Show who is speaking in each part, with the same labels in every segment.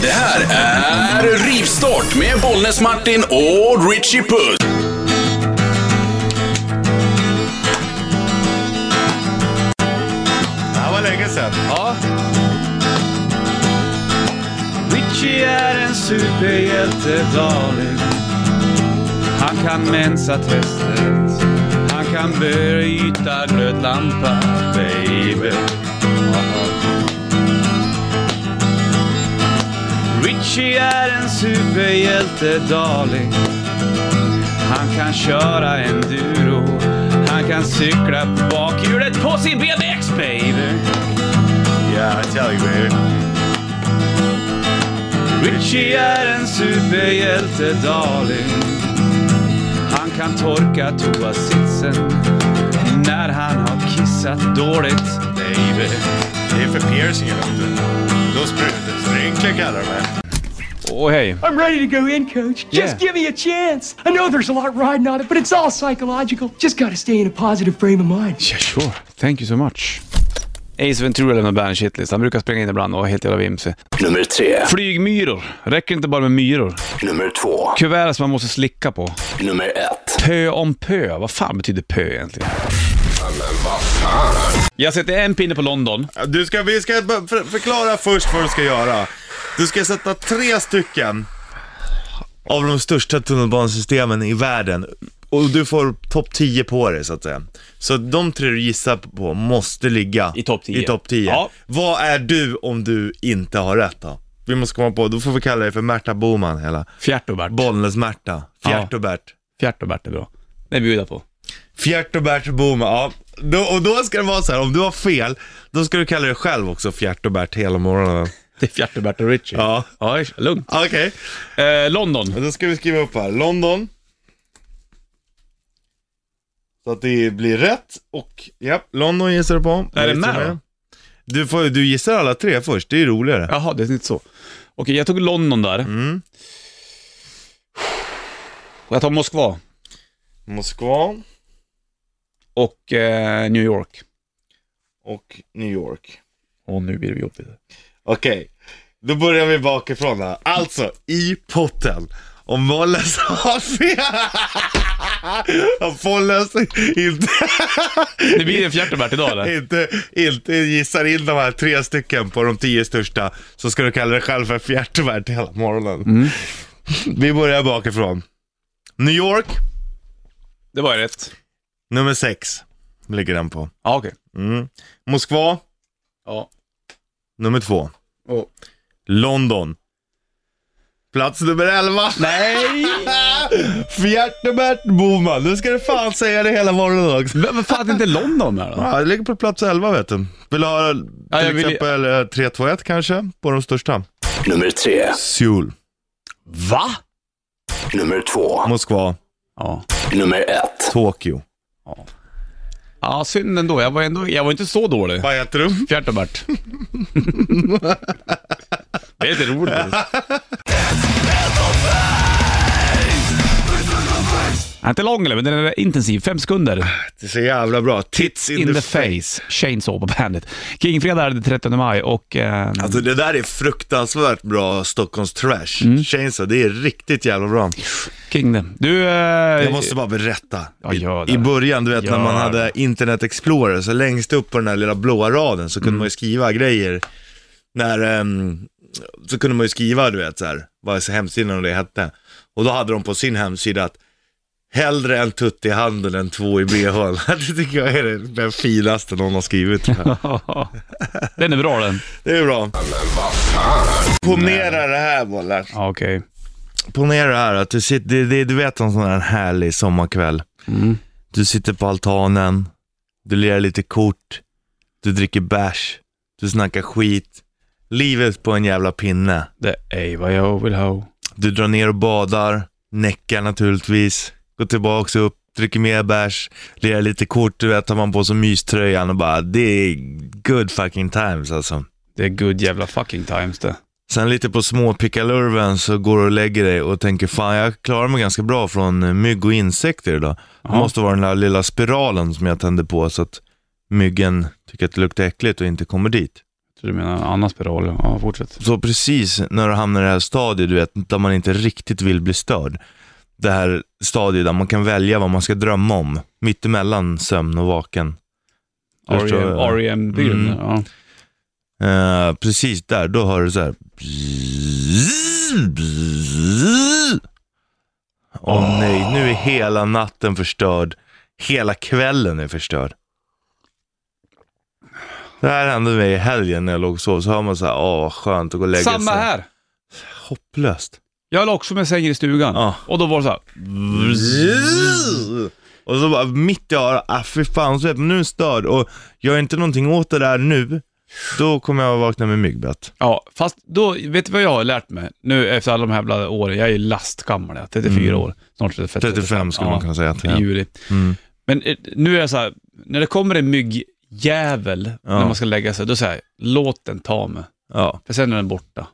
Speaker 1: Det här är Rivstart med Bollnäs-Martin och Richie Puss.
Speaker 2: Det här var länge sedan.
Speaker 3: Ja. Richie är en superhjälte, darling. Han kan mensa testet. Han kan bryta glödlampa, baby. Richie är en superhjälte, darling. Han kan köra enduro. Han kan cykla på bakhjulet på sin BMX, baby.
Speaker 2: Yeah, I tell you baby.
Speaker 3: Richie är en superhjälte, darling. Han kan torka toasitsen när han har kissat dåligt, baby.
Speaker 2: Det är för piercingar vet du. Då sprutar sprinkler kallar de det.
Speaker 3: Åh hej.
Speaker 4: I'm ready to go in, coach. Just
Speaker 3: Yeah.
Speaker 4: give me a chance. I know there's a lot riding on it, but it's all psychological. Just got to stay in a positive frame of mind.
Speaker 3: Yeah, sure. Thank you so much. Ace Ventura lämnar band shitlist. Han brukar springa in ibland och är helt jävla vimsig.
Speaker 1: Nummer tre.
Speaker 3: Flygmyror. Räcker inte bara med myror.
Speaker 1: Nummer två.
Speaker 3: Kuvert som man måste slicka på.
Speaker 1: Nummer ett.
Speaker 3: Pö om pö. Vad fan betyder pö egentligen? Jag sätter en pinne på London.
Speaker 2: Du ska, vi ska bara för- förklara först vad du ska göra. Du ska sätta tre stycken av de största tunnelbanesystemen i världen. Och du får topp 10 på dig så att säga. Så de tre du gissar på måste ligga
Speaker 3: I topp 10.
Speaker 2: I topp 10.
Speaker 3: Ja.
Speaker 2: Vad är du om du inte har rätt då? Vi måste komma på, då får vi kalla dig för Märta Boman hela.
Speaker 3: Fjärtobert.
Speaker 2: Bollnäs-Märta. Fjärtobert.
Speaker 3: Fjärtobert är bra. Det bjuder jag på.
Speaker 2: Fjärtobert Boman, ja. Då, och då ska det vara så här, om du har fel, då ska du kalla dig själv också Fjärtobert hela morgonen.
Speaker 3: Det är Fjärtobert och Richie.
Speaker 2: Ja.
Speaker 3: Ja, lugnt.
Speaker 2: Okej,
Speaker 3: Eh, London.
Speaker 2: men då ska vi skriva upp här. London. Så att det blir rätt och, ja, London gissar du på.
Speaker 3: Är det med då?
Speaker 2: Du, får, du gissar alla tre först, det är roligare.
Speaker 3: Jaha, det är inte så. Okej, jag tog London där. Och Jag tar Moskva
Speaker 2: Moskva
Speaker 3: och eh, New York.
Speaker 2: och New York.
Speaker 3: Och nu blir det jobbigt.
Speaker 2: Okej, då börjar vi bakifrån här. Alltså, i potten. Om Molles har fel. Om Molles inte,
Speaker 3: Det blir en fjärtebärt idag eller?
Speaker 2: inte, inte gissar in de här tre stycken på de tio största så ska du kalla dig själv för fjärtevärd hela morgonen. Vi börjar bakifrån. New York,
Speaker 3: Det var ju rätt.
Speaker 2: nummer sex ligger den på.
Speaker 3: Ja, okej.
Speaker 2: Mm. Moskva,
Speaker 3: Ja.
Speaker 2: nummer två.
Speaker 3: Och-
Speaker 2: London. Plats nummer 11.
Speaker 3: Nej!
Speaker 2: Fjärtebert Boman, nu ska du fan säga det hela morgonen också.
Speaker 3: Men fan, det är inte London här då?
Speaker 2: Ja, det ligger på plats 11 vet du. Vill du ha till
Speaker 3: Ja, jag vill-
Speaker 2: exempel eh, 3-2-1 kanske, på de största?
Speaker 1: Nummer tre.
Speaker 2: Seoul,
Speaker 3: Va?
Speaker 1: Nummer två.
Speaker 2: Moskva,
Speaker 3: Ja.
Speaker 1: Nummer ett.
Speaker 2: Tokyo.
Speaker 3: Ja, synd ändå. Jag var, ändå, jag var inte så dålig.
Speaker 2: Vad heter du?
Speaker 3: Fjärtebärt. det är lite roligt. Den är inte lång eller, men den är intensiv. Fem sekunder.
Speaker 2: Det är så jävla bra. Tits in,
Speaker 3: In the
Speaker 2: the face.
Speaker 3: face. Chainsaw på bandet. Kingfredag är det 30 maj och... Eh,
Speaker 2: Alltså det där är fruktansvärt bra Stockholms trash. Mm. Chainsaw, det är riktigt jävla bra.
Speaker 3: King det. Du... Eh,
Speaker 2: Jag måste bara berätta.
Speaker 3: Ja, gör det.
Speaker 2: I, I början, du vet när man
Speaker 3: Gör
Speaker 2: hade Internet Explorer, så längst upp på den där lilla blåa raden så kunde
Speaker 3: Mm.
Speaker 2: man ju skriva grejer. När, ehm, så kunde man ju skriva, du vet, så här, vad hemsidan och det hette. Och då hade de på sin hemsida att hellre en tutt i handen än två i bhn. det tycker jag är det- den finaste någon har skrivit.
Speaker 3: den är bra den.
Speaker 2: Det är bra. Ponera det här, Bolle.
Speaker 3: Ja, okej.
Speaker 2: Ponera det här att du sitter, det, det, du vet en sån här härlig sommarkväll. Du sitter på altanen, du lirar lite kort, du dricker bärs, du snackar skit. Livet på en jävla pinne.
Speaker 3: Det är vad jag vill ha.
Speaker 2: Du drar ner och badar, näckar naturligtvis, går tillbaks upp, dricker mer bärs, lirar lite kort, du vet, tar man på sig myströjan och bara, det är good fucking times alltså.
Speaker 3: Det är good jävla fucking times det.
Speaker 2: Sen lite på små pickalurven så går du och lägger dig och tänker fan jag klarar mig ganska bra från eh, mygg och insekter idag. Det måste vara den där lilla spiralen som jag tände på så att myggen tycker att det luktar äckligt och inte kommer dit.
Speaker 3: Så du menar Annas spiral? Ja, fortsätt.
Speaker 2: Så precis när du hamnar i det här stadiet, du vet, där man inte riktigt vill bli störd. Det här stadiet där man kan välja vad man ska drömma om, mittemellan sömn och vaken. Jag förstår,
Speaker 3: E
Speaker 2: ja.
Speaker 3: REM-byn.
Speaker 2: Mm.
Speaker 3: Ja.
Speaker 2: Eh, precis där, då hör du så här. Åh nej, nu är hela natten förstörd. Hela kvällen är förstörd. Det här hände mig i helgen när jag låg och sov. Så hör man så här, åh vad skönt att gå och lägga
Speaker 3: Samma
Speaker 2: sig.
Speaker 3: här.
Speaker 2: Hopplöst.
Speaker 3: Jag låg också med sängen i stugan.
Speaker 2: Ja.
Speaker 3: Och då var det så här.
Speaker 2: Och så bara mitt i örat, ah, fy fan, så vet man, nu är jag störd och gör jag inte någonting åt det där nu, då kommer jag vakna med myggbett.
Speaker 3: Ja, fast då, vet du vad jag har lärt mig? Nu efter alla de här jävla åren, jag är ju lastgammal, jag är 34 år. Snart 35.
Speaker 2: 35 Mm. skulle man kunna säga Mm. att det
Speaker 3: I
Speaker 2: är.
Speaker 3: juli. Men eh, nu är jag så här, när det kommer en myggjävel när man ska lägga sig, då säger jag, låt den ta mig.
Speaker 2: Ja.
Speaker 3: För sen är den borta.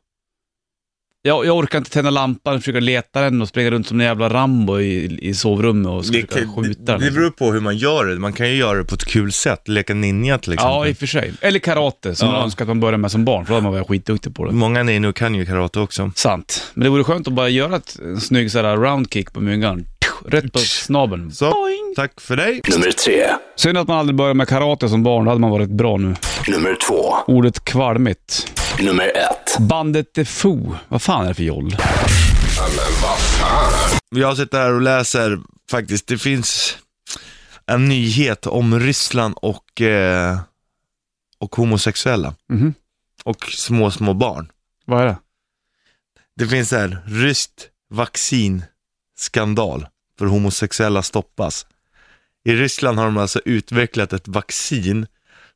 Speaker 3: Jag, jag orkar inte tända lampan, försöka leta den och springa runt som en jävla Rambo i, i sovrummet
Speaker 2: Det,
Speaker 3: och försöka
Speaker 2: kan,
Speaker 3: skjuta liksom.
Speaker 2: det,
Speaker 3: den.
Speaker 2: det beror på hur man gör det. Man kan ju göra det på ett kul sätt, leka ninja till
Speaker 3: Ja,
Speaker 2: exempel.
Speaker 3: i och för sig. Eller karate, som
Speaker 2: liksom. Ja.
Speaker 3: jag önskar att man började med som barn, för då hade man varit skitduktig på det.
Speaker 2: Många ninjor kan ju karate också.
Speaker 3: Sant. Men det vore skönt att bara göra ett, en snygg så här round kick på myggan. Rätt på snabeln.
Speaker 2: Så, tack för dig.
Speaker 1: Nummer tre.
Speaker 3: Synd att man aldrig började med karate som barn, då hade man varit bra nu.
Speaker 1: Nummer två.
Speaker 3: Ordet kvalmigt.
Speaker 1: Nummer ett.
Speaker 3: Bandet The Foo. Vad fan är det för joll?
Speaker 2: Jag sitter här och läser, faktiskt, det finns en nyhet om Ryssland och, eh, och homosexuella.
Speaker 3: Mhm.
Speaker 2: Och små, små barn.
Speaker 3: Vad är det?
Speaker 2: Det finns så här, ryskt vaccinskandal för homosexuella stoppas. I Ryssland har de alltså utvecklat ett vaccin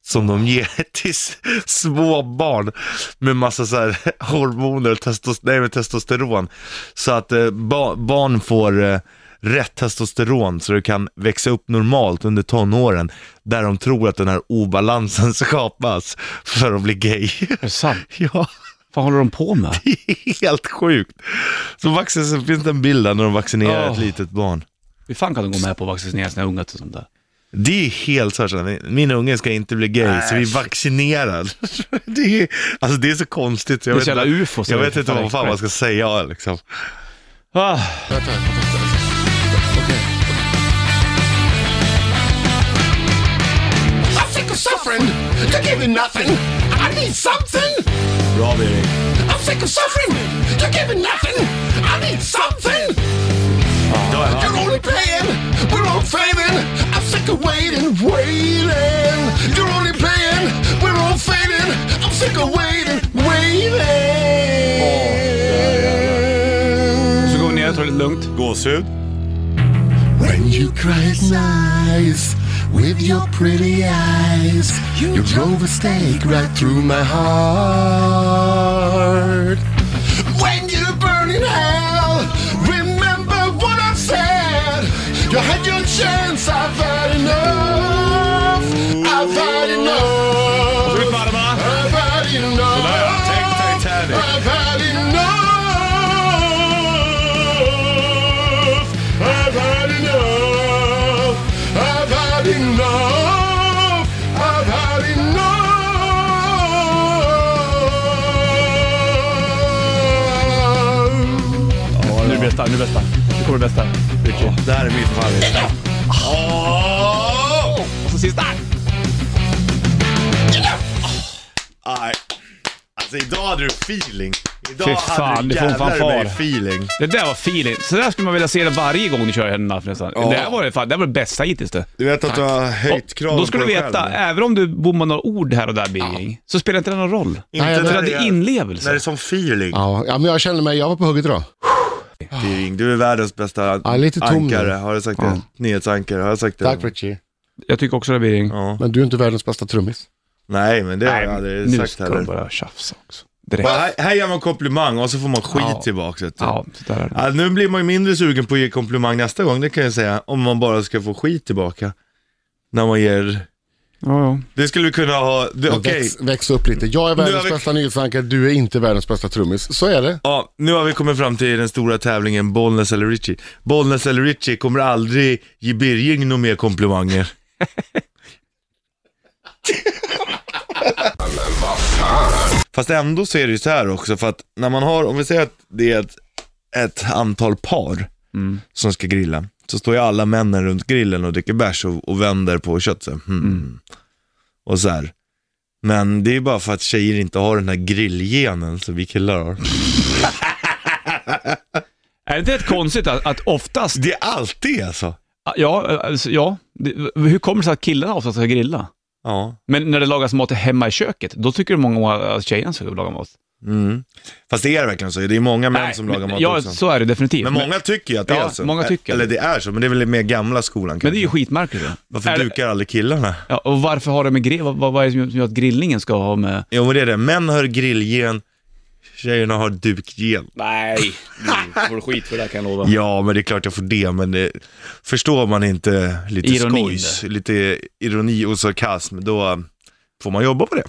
Speaker 2: som de ger till s- små barn med massa så här hormoner, testos nej, med testosteron. Så att eh, ba barn får eh, rätt testosteron så det kan växa upp normalt under tonåren där de tror att den här obalansen skapas för att bli gay.
Speaker 3: Är det sant?
Speaker 2: ja.
Speaker 3: Vad håller de på med?
Speaker 2: Helt sjukt. Så, vaccin, så finns det en bild där när de vaccinerar ett
Speaker 3: Åh.
Speaker 2: litet barn.
Speaker 3: Hur fan kan de gå med på att vaccinera sina ungar till sånt där?
Speaker 2: Det är helt så här, så här, min unge ska inte bli gay, så vi vaccinerar. det, är, alltså det är så konstigt. så Jag
Speaker 3: Det är så
Speaker 2: vet,
Speaker 3: jävla
Speaker 2: inte-
Speaker 3: ufo så
Speaker 2: jag
Speaker 3: det
Speaker 2: vet
Speaker 3: är
Speaker 2: inte
Speaker 3: fan
Speaker 2: vad fan man ska säga liksom.
Speaker 3: Ah.
Speaker 5: I'm sick of suffering. You're giving nothing. I need something.
Speaker 2: Bra Birger.
Speaker 5: I'm sick of suffering. You're giving nothing. I need something. You're only playing. We're all fading. I'm sick of waiting, waiting. You're only playing. We're all fading. I'm sick of waiting, waiting.
Speaker 3: Så går vi ner och tar det lite lugnt.
Speaker 2: Gåshud.
Speaker 5: When you cried nice with your pretty eyes, you, drove a stake right through my heart. When you burn in hell, remember what I said. You had your chance, I've had enough. I've had enough. I've had enough. I've had enough. I've had enough. I've had enough. I've had enough.
Speaker 3: Nu är det bästa, nu är det bästa. Nu kommer det bästa.
Speaker 2: Det här är mitt favorit.
Speaker 3: Och så sista!
Speaker 2: Nej. Alltså idag hade du feeling. Idag
Speaker 3: Fy
Speaker 2: hade
Speaker 3: fan,
Speaker 2: du
Speaker 3: du får en
Speaker 2: jävlar i
Speaker 3: fanfar.
Speaker 2: mig feeling.
Speaker 3: Det där var feeling. Så där skulle man vilja se det varje gång du kör händerna förresten. Det här var det, fan, det här var det bästa hittills det.
Speaker 2: Du vet att du har höjt
Speaker 3: Och
Speaker 2: kraven
Speaker 3: Då ska
Speaker 2: på
Speaker 3: du
Speaker 2: dig själv.
Speaker 3: veta, eh, även om du bommar några ord här och där Birging, så spelar inte det någon roll.
Speaker 2: Inte
Speaker 5: Nej, jag
Speaker 2: när
Speaker 3: För att det är
Speaker 2: När det är
Speaker 3: inlevelse.
Speaker 2: som feeling.
Speaker 5: Ja, ja, men jag känner mig, jag var på hugget idag.
Speaker 2: Dyring, du är världens bästa
Speaker 5: Ja, lite tom nu.
Speaker 2: ankare. Har jag sagt det? Nyhetsankare, har jag sagt det?
Speaker 5: Tack Richie.
Speaker 3: Jag tycker också det Birging.
Speaker 2: Ja.
Speaker 5: Men du är inte världens bästa trummis.
Speaker 2: Nej, men det har
Speaker 3: Nej,
Speaker 2: jag aldrig
Speaker 3: nu
Speaker 2: sagt
Speaker 3: ska de
Speaker 2: heller.
Speaker 3: börja tjafsa också. Direkt.
Speaker 2: Bara, här, här ger man komplimang och så får man skit
Speaker 3: Ja.
Speaker 2: tillbaka. Vet du.
Speaker 3: Ja, så där är det.
Speaker 2: Ja, nu blir man ju mindre sugen på att ge komplimang nästa gång, det kan jag säga. Om man bara ska få skit tillbaka. När man ger...
Speaker 3: Ja, ja.
Speaker 2: Det skulle vi kunna ha... det- Okej.
Speaker 5: Väx, väx upp lite. Jag är
Speaker 2: Nu har
Speaker 5: världens
Speaker 2: vi-
Speaker 5: bästa nyhetsankare, du är inte världens bästa trummis. Så är det.
Speaker 2: Ja, nu har vi kommit fram till den stora tävlingen Bollnäs eller Richie. Bollnäs eller Richie kommer aldrig ge Birging några mer komplimanger. Fast ändå så är det ju så här också, för att när man har, om vi säger att det är ett, ett antal par som ska grilla, så står ju alla männen runt grillen och dricker bärs och, och vänder på kött så här, hmm. Och så här. Men det är ju bara för att tjejer inte har den här grillgenen som vi killar har.
Speaker 3: Är det inte rätt konstigt att, att oftast,
Speaker 2: Det är alltid alltså.
Speaker 3: ja, alltså, ja det, hur kommer det sig att killarna oftast ska grilla?
Speaker 2: Ja.
Speaker 3: Men när det lagas mat hemma i köket, då tycker många att tjejerna ska laga mat.
Speaker 2: Mm. Fast det är verkligen så, det är många män som lagar mat
Speaker 3: ja,
Speaker 2: också.
Speaker 3: så är det definitivt.
Speaker 2: Men många tycker ju att det
Speaker 3: Ja,
Speaker 2: är så.
Speaker 3: många tycker
Speaker 2: Eller
Speaker 3: det.
Speaker 2: det är så, men det är väl mer gamla skolan
Speaker 3: Men det är
Speaker 2: kanske.
Speaker 3: ju skitmärkligt. det.
Speaker 2: Varför
Speaker 3: Är det-
Speaker 2: dukar aldrig killarna?
Speaker 3: Ja, och varför har det med grill, vad, vad vad är det som gör att grillningen ska ha med...
Speaker 2: Jo men det är det, män har grillgen, tjejerna har dukgen.
Speaker 6: Nej, du får skit för det här kan jag lova.
Speaker 2: Ja men det är klart jag får det, men det, förstår man inte lite
Speaker 3: Ironin.
Speaker 2: skojs, lite ironi och sarkasm, då får man jobba på det.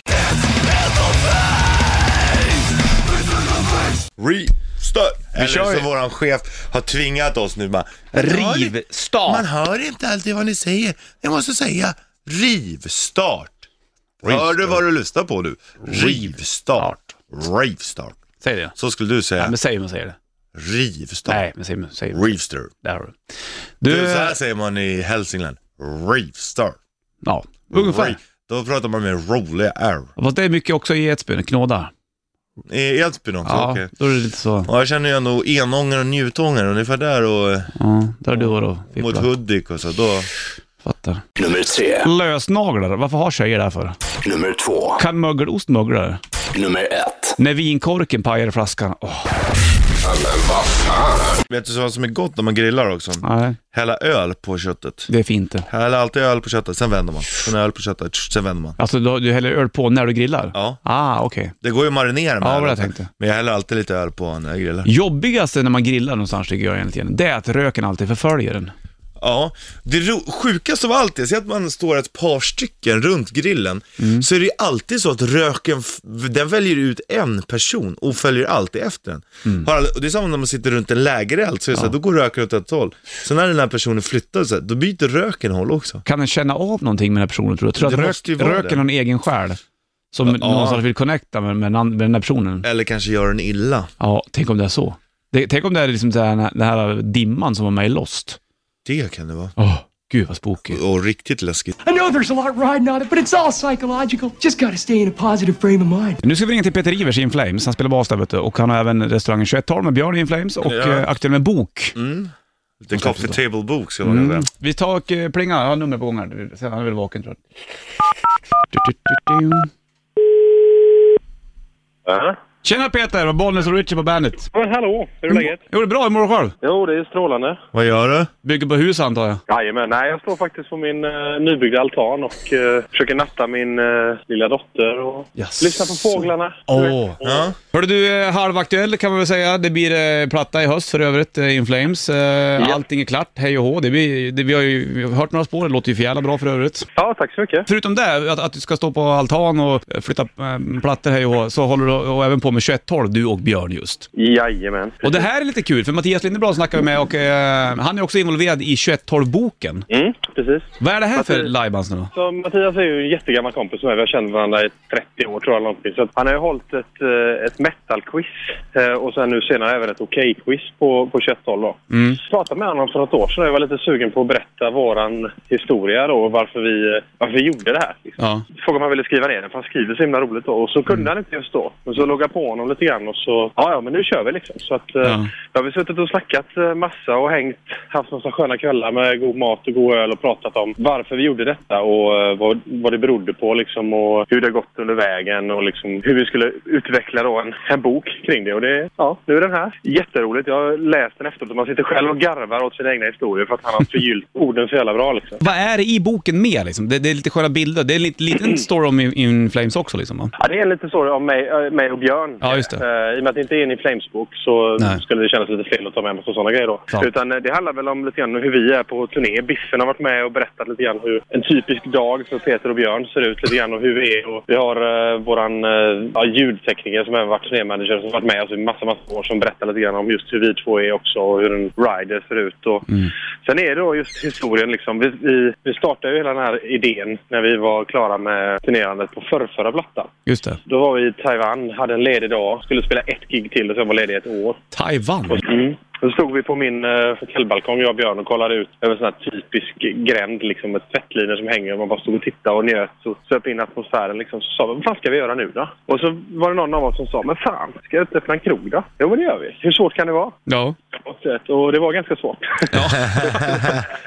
Speaker 2: Restart! Eller
Speaker 6: kör ju.
Speaker 2: som våran chef har tvingat oss nu bara, Man
Speaker 6: Rivstart!
Speaker 2: hör inte alltid vad ni säger. Jag måste säga rivstart. Hör du vad du lyssnar på nu? Rivstart. Rivstart.
Speaker 3: Säg det.
Speaker 2: Så skulle du säga.
Speaker 3: Nej, men säg hur man säger det.
Speaker 2: Rivstart.
Speaker 3: Nej, men säg hur säg hur-
Speaker 2: Rivster.
Speaker 3: Där har du.
Speaker 2: Du,
Speaker 3: Du,
Speaker 2: så här säger man i Hälsingland. Rivstart.
Speaker 3: ja, ungefär.
Speaker 2: Riv- Då pratar man med roliga R.
Speaker 3: Fast det är mycket också i Edsbyn, knådar.
Speaker 2: I Edsbyn också?
Speaker 3: Ja,
Speaker 2: Okej.
Speaker 3: då är det lite så.
Speaker 2: Ja, jag känner ju ändå enånger och njutånger ungefär där och eh,
Speaker 3: Ja, där är du och då.
Speaker 2: mot
Speaker 3: fipplar.
Speaker 2: Hudik och så. Då,
Speaker 3: Fattar.
Speaker 6: Nummer tre,
Speaker 3: Lösnaglar, varför har tjejer det här för?
Speaker 6: nummer två,
Speaker 3: Kan mögelost mögla det?
Speaker 6: nummer ett.
Speaker 3: När vinkorken pajar i flaskan. Åh,
Speaker 2: vet du vad som är gott när man grillar också?
Speaker 3: nej,
Speaker 2: Hälla öl på köttet.
Speaker 3: det är fint det.
Speaker 2: Häll alltid öl på köttet, sen vänder man. Sen öl på köttet, tsch, sen vänder man.
Speaker 3: Alltså du, du häller öl på när du grillar?
Speaker 2: Ja.
Speaker 3: Ah, okej.
Speaker 2: Det går ju att marinera med
Speaker 3: Ja, vad
Speaker 2: öl.
Speaker 3: jag tänkte.
Speaker 2: Men jag häller alltid lite öl på när jag grillar.
Speaker 3: Jobbigaste när man grillar någonstans tycker jag egentligen, det är att röken alltid förföljer den.
Speaker 2: Ja, det ro- sjukaste av allt är, säg att man står ett par stycken runt grillen, så är det ju alltid så att röken, f- den väljer ut en person och följer alltid efter den. Har all- och det är samma när man sitter runt en lägereld, så är det så här, då går röken åt ett håll. Så när den här personen flyttar sig, då byter röken håll också.
Speaker 3: Kan den känna av någonting med den här personen tror du? Tror du
Speaker 2: Det
Speaker 3: att
Speaker 2: måste ju
Speaker 3: rök,
Speaker 2: vara det.
Speaker 3: röken har en egen själ? Som någonstans vill connecta med, med, den an- med den här personen?
Speaker 2: Eller kanske gör den illa.
Speaker 3: Ja, tänk om det är så. Det, tänk om det är liksom så här, den här dimman som var med i Lost.
Speaker 2: Det kan det vara.
Speaker 3: Åh, gud vad spooky.
Speaker 2: Och riktigt läskigt.
Speaker 4: I know there's a lot riding on it, but it's all psychological. Just gotta stay in a positive frame of mind.
Speaker 3: Nu ska vi ringa till Peter Ivers i In Flames. Han spelar bas där vet du. Och han har även restaurangen 2112 med Björn i In Flames och
Speaker 2: Ja. Mm.
Speaker 3: eh, aktuell med bok.
Speaker 2: Lite coffee table bok, ska man mm. säga.
Speaker 3: Vi tar och eh, plingar. Han har nummer på gång här. Sen Han är väl vaken tror jag.
Speaker 7: Ja.
Speaker 3: Tjena Peter, och Bollnäs och Richie på bandet.
Speaker 7: Men hallå, hur är läget?
Speaker 3: Jo, det är bra. Hur mår du själv?
Speaker 7: Jo, det är strålande.
Speaker 2: Vad gör du?
Speaker 3: Bygger på hus antar jag.
Speaker 7: Jajamän, nej jag står faktiskt på min eh, nybyggda altan och eh, försöker natta min eh, lilla dotter och
Speaker 3: Yes.
Speaker 7: lyssna på fåglarna.
Speaker 3: Åh.
Speaker 2: Ja.
Speaker 3: Hörru du, eh, halvaktuell kan man väl säga. Det blir eh, platta i höst för övrigt, eh, In Flames. Eh, Allting är klart, hej och hå. Det blir, det, vi har ju vi har hört några spår, det låter ju för jävla bra för övrigt.
Speaker 7: Ja, tack så mycket.
Speaker 3: Förutom det, att, att du ska stå på altan och eh, flytta eh, plattor hej och hå, så håller du och även på med 2112, du och Björn just.
Speaker 7: Jajamän.
Speaker 3: Och det här är lite kul, för Mattias Lindeblad snackar vi med och eh, han är också involverad i 2112-boken.
Speaker 7: Mm, precis.
Speaker 3: Vad är det här för
Speaker 7: Mattias-
Speaker 3: lajbans nu då?
Speaker 7: Så Mattias är ju en jättegammal kompis med. Vi har känt varandra i 30 år tror jag. eller Någonting. Så att han har ju hållit ett, eh, ett metal-quiz eh, och sen nu senare även ett okej-quiz på, på 2112. Då. Jag pratade med honom för något år sedan och jag var lite sugen på att berätta våran historia då och varför vi, eh, varför vi gjorde det här. Liksom.
Speaker 3: Ja.
Speaker 7: Frågade om han ville skriva ner den, för han skriver så himla roligt då. Och så kunde han inte just då. Men så låg jag på honom lite grann och så, ja ja men nu kör vi liksom. Så att, eh,
Speaker 3: Ja.
Speaker 7: då har vi suttit och snackat eh, massa och hängt, haft massa sköna kvällar med god mat och god öl och pratat om varför vi gjorde detta och eh, vad, vad det berodde på liksom och hur det har gått under vägen och liksom hur vi skulle utveckla då en, en bok kring det. Och det, ja, nu är den här. Jätteroligt. Jag har läst den efteråt och man sitter själv och garvar åt sina egna historier för att han har förgyllt orden så jävla bra liksom.
Speaker 3: Vad är det i boken mer liksom? Det, det är lite sköna bilder. Det är en liten, liten story om In, In Flames också liksom va?
Speaker 7: Ja, det är en liten story om mig, eh, mig och Björn.
Speaker 3: Ja, just det.
Speaker 7: Eh, I och med att det inte är en i Flames-bok så
Speaker 3: Nej.
Speaker 7: skulle det kännas lite fel att ta med en massa sådana grejer då.
Speaker 3: Ja.
Speaker 7: Utan eh, det handlar väl om lite grann hur vi är på turné. Biffen har varit med och berättat lite grann hur en typisk dag för Peter och Björn ser ut lite grann och hur vi är. Och vi har eh, våran eh, ja, ljudtekniker som även varit turnémanager som varit med oss i massa, massa år som berättar lite grann om just hur vi två är också och hur en rider ser ut. Och
Speaker 3: Mm.
Speaker 7: Sen är det då just historien liksom. Vi, vi, vi startade ju hela den här idén när vi var klara med turnerandet på förrförra plattan.
Speaker 3: Just det.
Speaker 7: Då var vi i Taiwan, hade en ledig dag, skulle spela ett gig till och sen var ledig ett år.
Speaker 3: Taiwan.
Speaker 7: Och- Mm. Då stod vi på min eh, hotellbalkong, jag och Björn, och kollade ut över en sån här typisk gränd, liksom ett tvättlinor som hänger. Man bara stod och tittade och njöt och söp in atmosfären. Liksom. Så sa vi, vad fan ska vi göra nu då? Och så var det någon av oss som sa, men fan, ska jag inte öppna en krog då? Jo, men det gör vi. Hur svårt kan det vara?
Speaker 3: Ja.
Speaker 7: Och så- Och det var ganska svårt.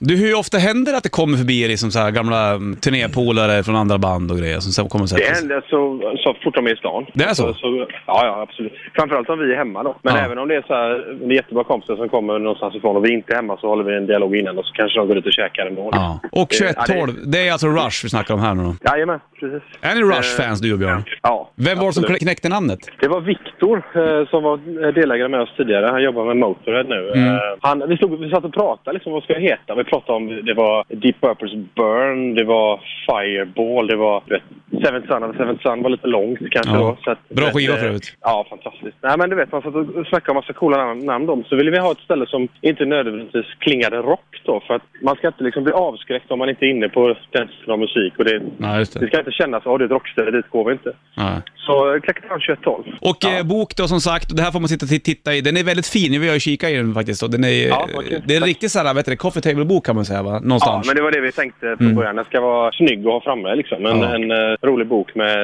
Speaker 3: Du, hur ofta händer det att det kommer förbi dig som så här gamla mm, turnépolare från andra band och grejer som sen kommer och
Speaker 7: Det
Speaker 3: sätter sig?
Speaker 7: händer så, så fort de är i stan.
Speaker 3: Det är så?
Speaker 7: ja, ja, absolut. Framförallt om vi är hemma då. Men
Speaker 3: Ja.
Speaker 7: även om det är så här, det är jättebra kompisar som kommer någonstans ifrån och vi inte är hemma så håller vi en dialog innan och så kanske de går ut och käkar ändå.
Speaker 3: Ja. Och
Speaker 7: Eh, ja, det-
Speaker 3: 2112, det är alltså Rush vi snackar om här nu då.
Speaker 7: Jajamän, precis.
Speaker 3: Är ni Rush-fans du och Björn?
Speaker 7: Ja.
Speaker 3: Vem var det som
Speaker 7: absolut.
Speaker 3: knä- knäckte namnet?
Speaker 7: Det var Viktor eh, som var eh, delägare med oss tidigare. Han jobbar med Motorhead nu.
Speaker 3: Mm.
Speaker 7: Eh, han, vi, stod, vi satt och pratade liksom, vad ska det heta? Vi pratade om det var Deep Purples Burn, det var Fireball, det var du vet, Seventh Sun. och Seventh Sun var lite långt kanske
Speaker 3: Ja.
Speaker 7: då. Så att,
Speaker 3: Bra
Speaker 7: du vet,
Speaker 3: skiva
Speaker 7: eh,
Speaker 3: för övrigt.
Speaker 7: Ja, fantastiskt. Nej, men du vet, man satt och snackade om massa coola nam- namn om. Så ville vi ha ett ställe som inte nödvändigtvis klingade rock då. För att man ska inte liksom bli avskräckt om man inte är inne på den typen av musik. Och det,
Speaker 3: Nej, just
Speaker 7: det
Speaker 3: det.
Speaker 7: ska inte kännas, ja det är ett rockställe, dit går vi inte.
Speaker 3: Ja.
Speaker 7: Så eh, Clackett Town 2112.
Speaker 3: Och eh, bok då som sagt, och det här får man sitta och t- titta i. Den är väldigt fin, vi har ju kikat i den faktiskt. Och den är,
Speaker 7: Ja, vad kul.
Speaker 3: det är en riktig så här, vet du, det, coffee table-bok kan man säga va?
Speaker 7: Ja,
Speaker 3: Någonstans.
Speaker 7: men det var det vi tänkte från början. Den ska vara snygg att ha framme. Liksom. En,
Speaker 3: Ja.
Speaker 7: en eh, rolig bok med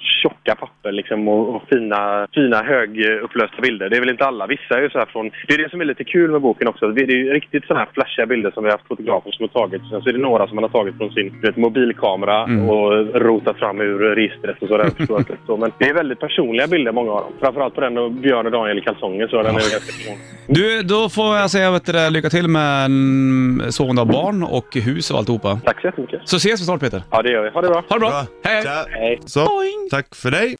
Speaker 7: tjocka papper liksom, och, och fina, fina högupplösta bilder. Det är väl inte alla. Vissa är ju så här från... Det är det som är lite kul med boken också. Det är det är ju riktigt sådana här flashiga bilder som vi har haft fotografer som har tagit. Sen så är det några som man har tagit från sin du vet, mobilkamera och rotat fram ur registret och sådär. förstår jag inte. så, men det är väldigt personliga bilder, många av dem. Framförallt på den och Björn och Daniel i kalsonger. Så den är ju ganska personlig.
Speaker 3: Du, då får jag säga vet du, det, lycka till med mm, sovande av barn och hus och alltihopa.
Speaker 7: Tack så jättemycket.
Speaker 3: Så ses vi snart Peter.
Speaker 7: Ja, det gör vi. Ha det bra.
Speaker 3: Ha det bra. Hej!
Speaker 2: Tja.
Speaker 7: Hej.
Speaker 2: Så, tack för dig.